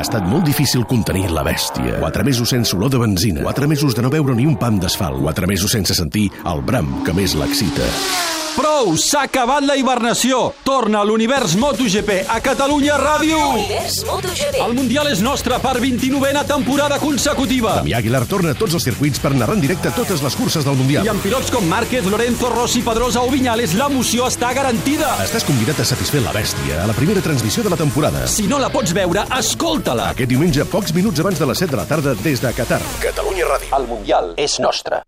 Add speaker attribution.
Speaker 1: estat molt difícil contenir la bèstia. Quatre mesos sense olor de benzina. Quatre mesos de no veure ni un pam d'asfalt. Quatre mesos sense sentir el bram que més l'excita.
Speaker 2: Prou! S'ha acabat la hibernació! Torna a l'univers MotoGP a Catalunya Ràdio!
Speaker 3: Univers MotoGP.
Speaker 2: El Mundial és nostre per 29a temporada consecutiva!
Speaker 1: Damià Aguilar torna a tots els circuits per narrar en directe totes les curses del
Speaker 2: I
Speaker 1: Mundial.
Speaker 2: amb pilots com Márquez, Lorenzo, Rossi, Pedrosa o Viñales, l'emoció està garantida!
Speaker 1: Estàs convidat a satisfer la bèstia a la primera transmissió de la temporada.
Speaker 2: Si no la pots veure, escolta-la!
Speaker 1: Aquest diumenge, pocs minuts abans de les 7 de la tarda, des de Qatar. Catalunya Ràdio.
Speaker 4: El Mundial és nostre.